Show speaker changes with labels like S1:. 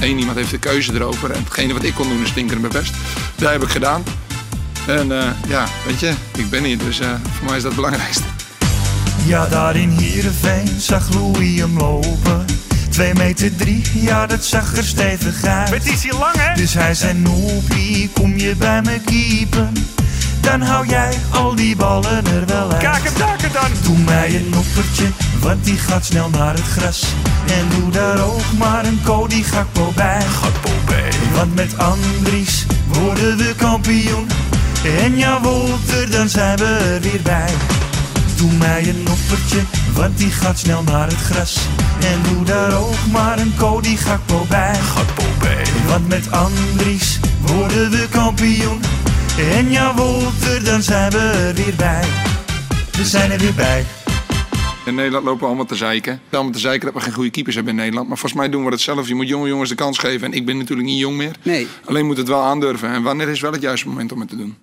S1: één iemand heeft de keuze erover. En hetgene wat ik kon doen is stinker mijn best. Dat heb ik gedaan. En eh, ja, weet je, ik ben hier, dus eh, voor mij is dat het belangrijkste.
S2: Ja, daar in Heerenveen zag Louis hem lopen. 2 meter 3, ja dat zag er stevig uit.
S3: Het is hier lang, hè?
S2: Dus hij zei, Noepie, kom je bij me keepen? Dan hou jij al die ballen er wel uit.
S3: Kijk hem, daar dan.
S2: Doe mij een noppertje, want die gaat snel naar het gras. En doe daar ook maar een Cody Gakpo bij. Gakpo bij. Want met Andries worden we kampioen. En ja, Wolter, dan zijn we er weer bij. Doe mij een noppertje, want die gaat snel naar het gras. En doe daar ook maar een Cody Gakpo bij. Gakpo bij. Want met Andries worden we kampioen. En ja, Wolter, dan zijn we er weer bij. We zijn er weer bij.
S1: In Nederland lopen we allemaal te zeiken. Allemaal te zeiken dat we geen goede keepers hebben in Nederland. Maar volgens mij doen we dat zelf. Je moet jonge jongens de kans geven. En ik ben natuurlijk niet jong meer.
S4: Nee.
S1: Alleen moet het wel aandurven. En wanneer is wel het juiste moment om het te doen?